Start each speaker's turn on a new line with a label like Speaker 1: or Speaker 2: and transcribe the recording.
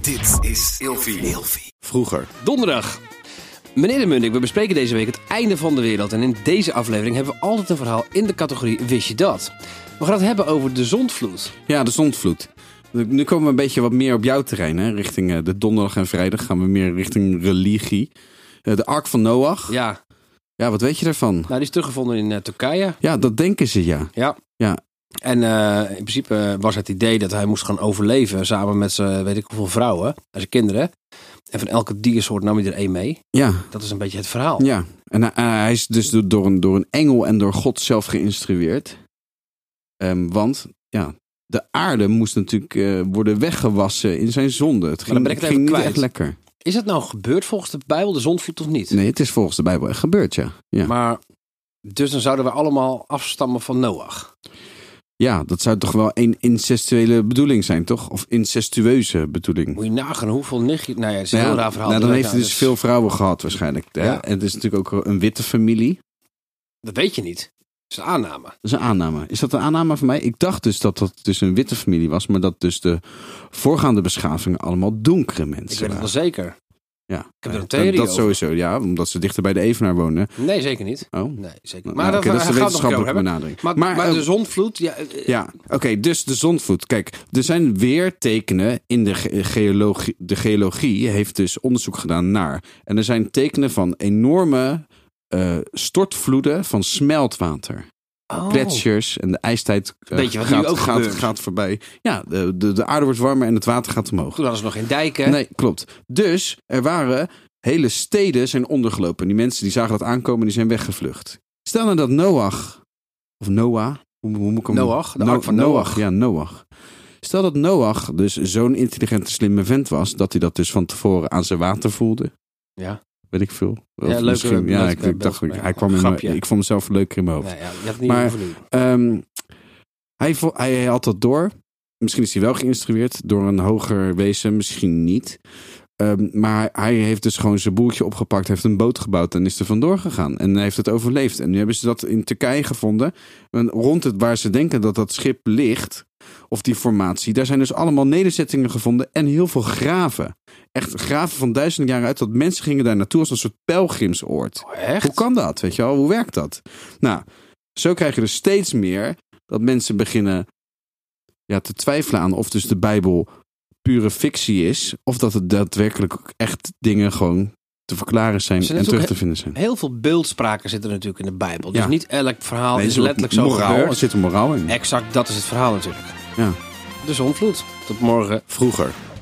Speaker 1: Dit is Ilfie.
Speaker 2: Vroeger.
Speaker 3: Donderdag. Meneer de Munnik, we bespreken deze week het einde van de wereld. En in deze aflevering hebben we altijd een verhaal in de categorie Wist je dat? We gaan het hebben over de zondvloed.
Speaker 2: Ja, de zondvloed. Nu komen we een beetje wat meer op jouw terrein, hè? richting eh, de donderdag en vrijdag gaan we meer richting religie. Eh, De Ark van Noach. Ja.
Speaker 3: Ja,
Speaker 2: wat weet je daarvan?
Speaker 3: nou die is teruggevonden in eh, Turkije.
Speaker 2: Ja, dat denken ze ja.
Speaker 3: Ja.
Speaker 2: Ja.
Speaker 3: En eh, in principe eh, was het idee dat hij moest gaan overleven samen met zijn weet ik hoeveel vrouwen en zijn kinderen. En van elke diersoort nam hij er één mee.
Speaker 2: Ja,
Speaker 3: Dat is een beetje het verhaal.
Speaker 2: ja. En hij- hij is dus door- door een, door een engel en door God zelf geïnstrueerd. Ehm, want, ja, de aarde moest natuurlijk eh, worden weggewassen in zijn zonde. Het ging,
Speaker 3: dan ben ik het
Speaker 2: ging
Speaker 3: even
Speaker 2: niet
Speaker 3: kwijt.
Speaker 2: echt lekker.
Speaker 3: Is het nou gebeurd volgens de Bijbel, de zondvloed of niet?
Speaker 2: Nee, het is volgens de Bijbel echt gebeurd, ja. Ja,
Speaker 3: Maar dus dan zouden we allemaal afstammen van Noach.
Speaker 2: ja dat zou toch wel een incestuele bedoeling zijn, toch? Of incestueuze bedoeling.
Speaker 3: Moet je nagaan hoeveel nichtje... Nou ja, het is een
Speaker 2: Nou ja,
Speaker 3: heel raar verhaal.
Speaker 2: nou, dan heeft hij
Speaker 3: Nou,
Speaker 2: dus veel vrouwen gehad waarschijnlijk. Hè?
Speaker 3: Ja.
Speaker 2: En het is natuurlijk ook een witte familie.
Speaker 3: Dat weet je niet. Dat is een aanname.
Speaker 2: Dat is een aanname. Is dat een aanname van mij? Ik dacht dus dat dat dus een witte familie was, maar dat dus de voorgaande beschavingen allemaal donkere
Speaker 3: Ik
Speaker 2: mensen
Speaker 3: weet het wel
Speaker 2: waren.
Speaker 3: zeker.
Speaker 2: Ja. Ik
Speaker 3: heb er een theorie
Speaker 2: Dat,
Speaker 3: over.
Speaker 2: sowieso, ja, omdat ze dichter bij de Evenaar wonen.
Speaker 3: Nee, zeker niet.
Speaker 2: Oh. Nou,
Speaker 3: Nee, zeker niet.
Speaker 2: oké,
Speaker 3: Maar
Speaker 2: dat is
Speaker 3: dat,
Speaker 2: de
Speaker 3: we gaan het nog een keer
Speaker 2: wetenschappelijke
Speaker 3: over hebben.
Speaker 2: benadering.
Speaker 3: Maar, maar, dus
Speaker 2: eh,
Speaker 3: de zondvloed... Ja, eh,
Speaker 2: Ja, oké, dus de zondvloed. Kijk, er zijn weer tekenen in de ge- geologie. De geologie heeft dus onderzoek gedaan naar. En er zijn tekenen van enorme eh, stortvloeden van smeltwater.
Speaker 3: oh.
Speaker 2: Gletsjers en de ijstijd eh,
Speaker 3: Weet je wat nu
Speaker 2: gaat,
Speaker 3: ook
Speaker 2: gaat,
Speaker 3: gebeurt?
Speaker 2: gaat voorbij. Ja, de, de, de aarde wordt warmer en het water gaat omhoog.
Speaker 3: Toen hadden ze nog geen dijken.
Speaker 2: Nee, klopt. Dus er waren hele steden zijn ondergelopen. Die mensen die zagen dat aankomen, die zijn weggevlucht. Stel nou dat Noach, of Noah, hoe, hoe moet ik hem
Speaker 3: Noach, de ark van Noach.
Speaker 2: Ja, Noach. Stel dat Noach dus zo'n intelligente, slimme vent was, dat hij dat dus van tevoren aan zijn water voelde.
Speaker 3: Ja.
Speaker 2: Weet ik veel. Of
Speaker 3: Ja, leuke-
Speaker 2: misschien, ja
Speaker 3: leuke
Speaker 2: ik, ik dacht,
Speaker 3: beeld,
Speaker 2: hij kwam in
Speaker 3: grapje.
Speaker 2: mijn, ik vond mezelf leuker in mijn hoofd.
Speaker 3: Nee, ja, je had het niet
Speaker 2: Maar-
Speaker 3: hoeven doen.
Speaker 2: Ehm, hij, vo- hij had dat door. Misschien is hij wel geïnstrueerd door een hoger wezen, misschien niet. Ehm, maar hij heeft dus gewoon zijn boeltje opgepakt, heeft een boot gebouwd en is er vandoor gegaan. En hij heeft het overleefd. En nu hebben ze dat in Turkije gevonden. En rond het waar ze denken dat dat schip ligt, of die formatie, daar zijn dus allemaal nederzettingen gevonden en heel veel graven. Echt graven van duizenden jaren uit, dat mensen gingen daar naartoe als een soort pelgrimsoord.
Speaker 3: Oh, echt?
Speaker 2: Hoe kan dat? Weet je wel, hoe werkt dat? Nou, zo krijg je dus steeds meer dat mensen beginnen ja, te twijfelen aan of dus de Bijbel pure fictie is, of dat het daadwerkelijk ook echt dingen gewoon te verklaren zijn
Speaker 3: Ze
Speaker 2: en
Speaker 3: net
Speaker 2: terug
Speaker 3: ook
Speaker 2: te vinden zijn.
Speaker 3: Heel veel beeldspraken zitten natuurlijk in de Bijbel. Dus
Speaker 2: Ja.
Speaker 3: niet elk verhaal
Speaker 2: Nee,
Speaker 3: is
Speaker 2: er ook
Speaker 3: letterlijk zo
Speaker 2: moraal,
Speaker 3: gebeurd.
Speaker 2: Er zit een moraal in.
Speaker 3: Exact, dat is het verhaal natuurlijk.
Speaker 2: Ja.
Speaker 3: De zonvloed. Tot morgen.
Speaker 2: Vroeger.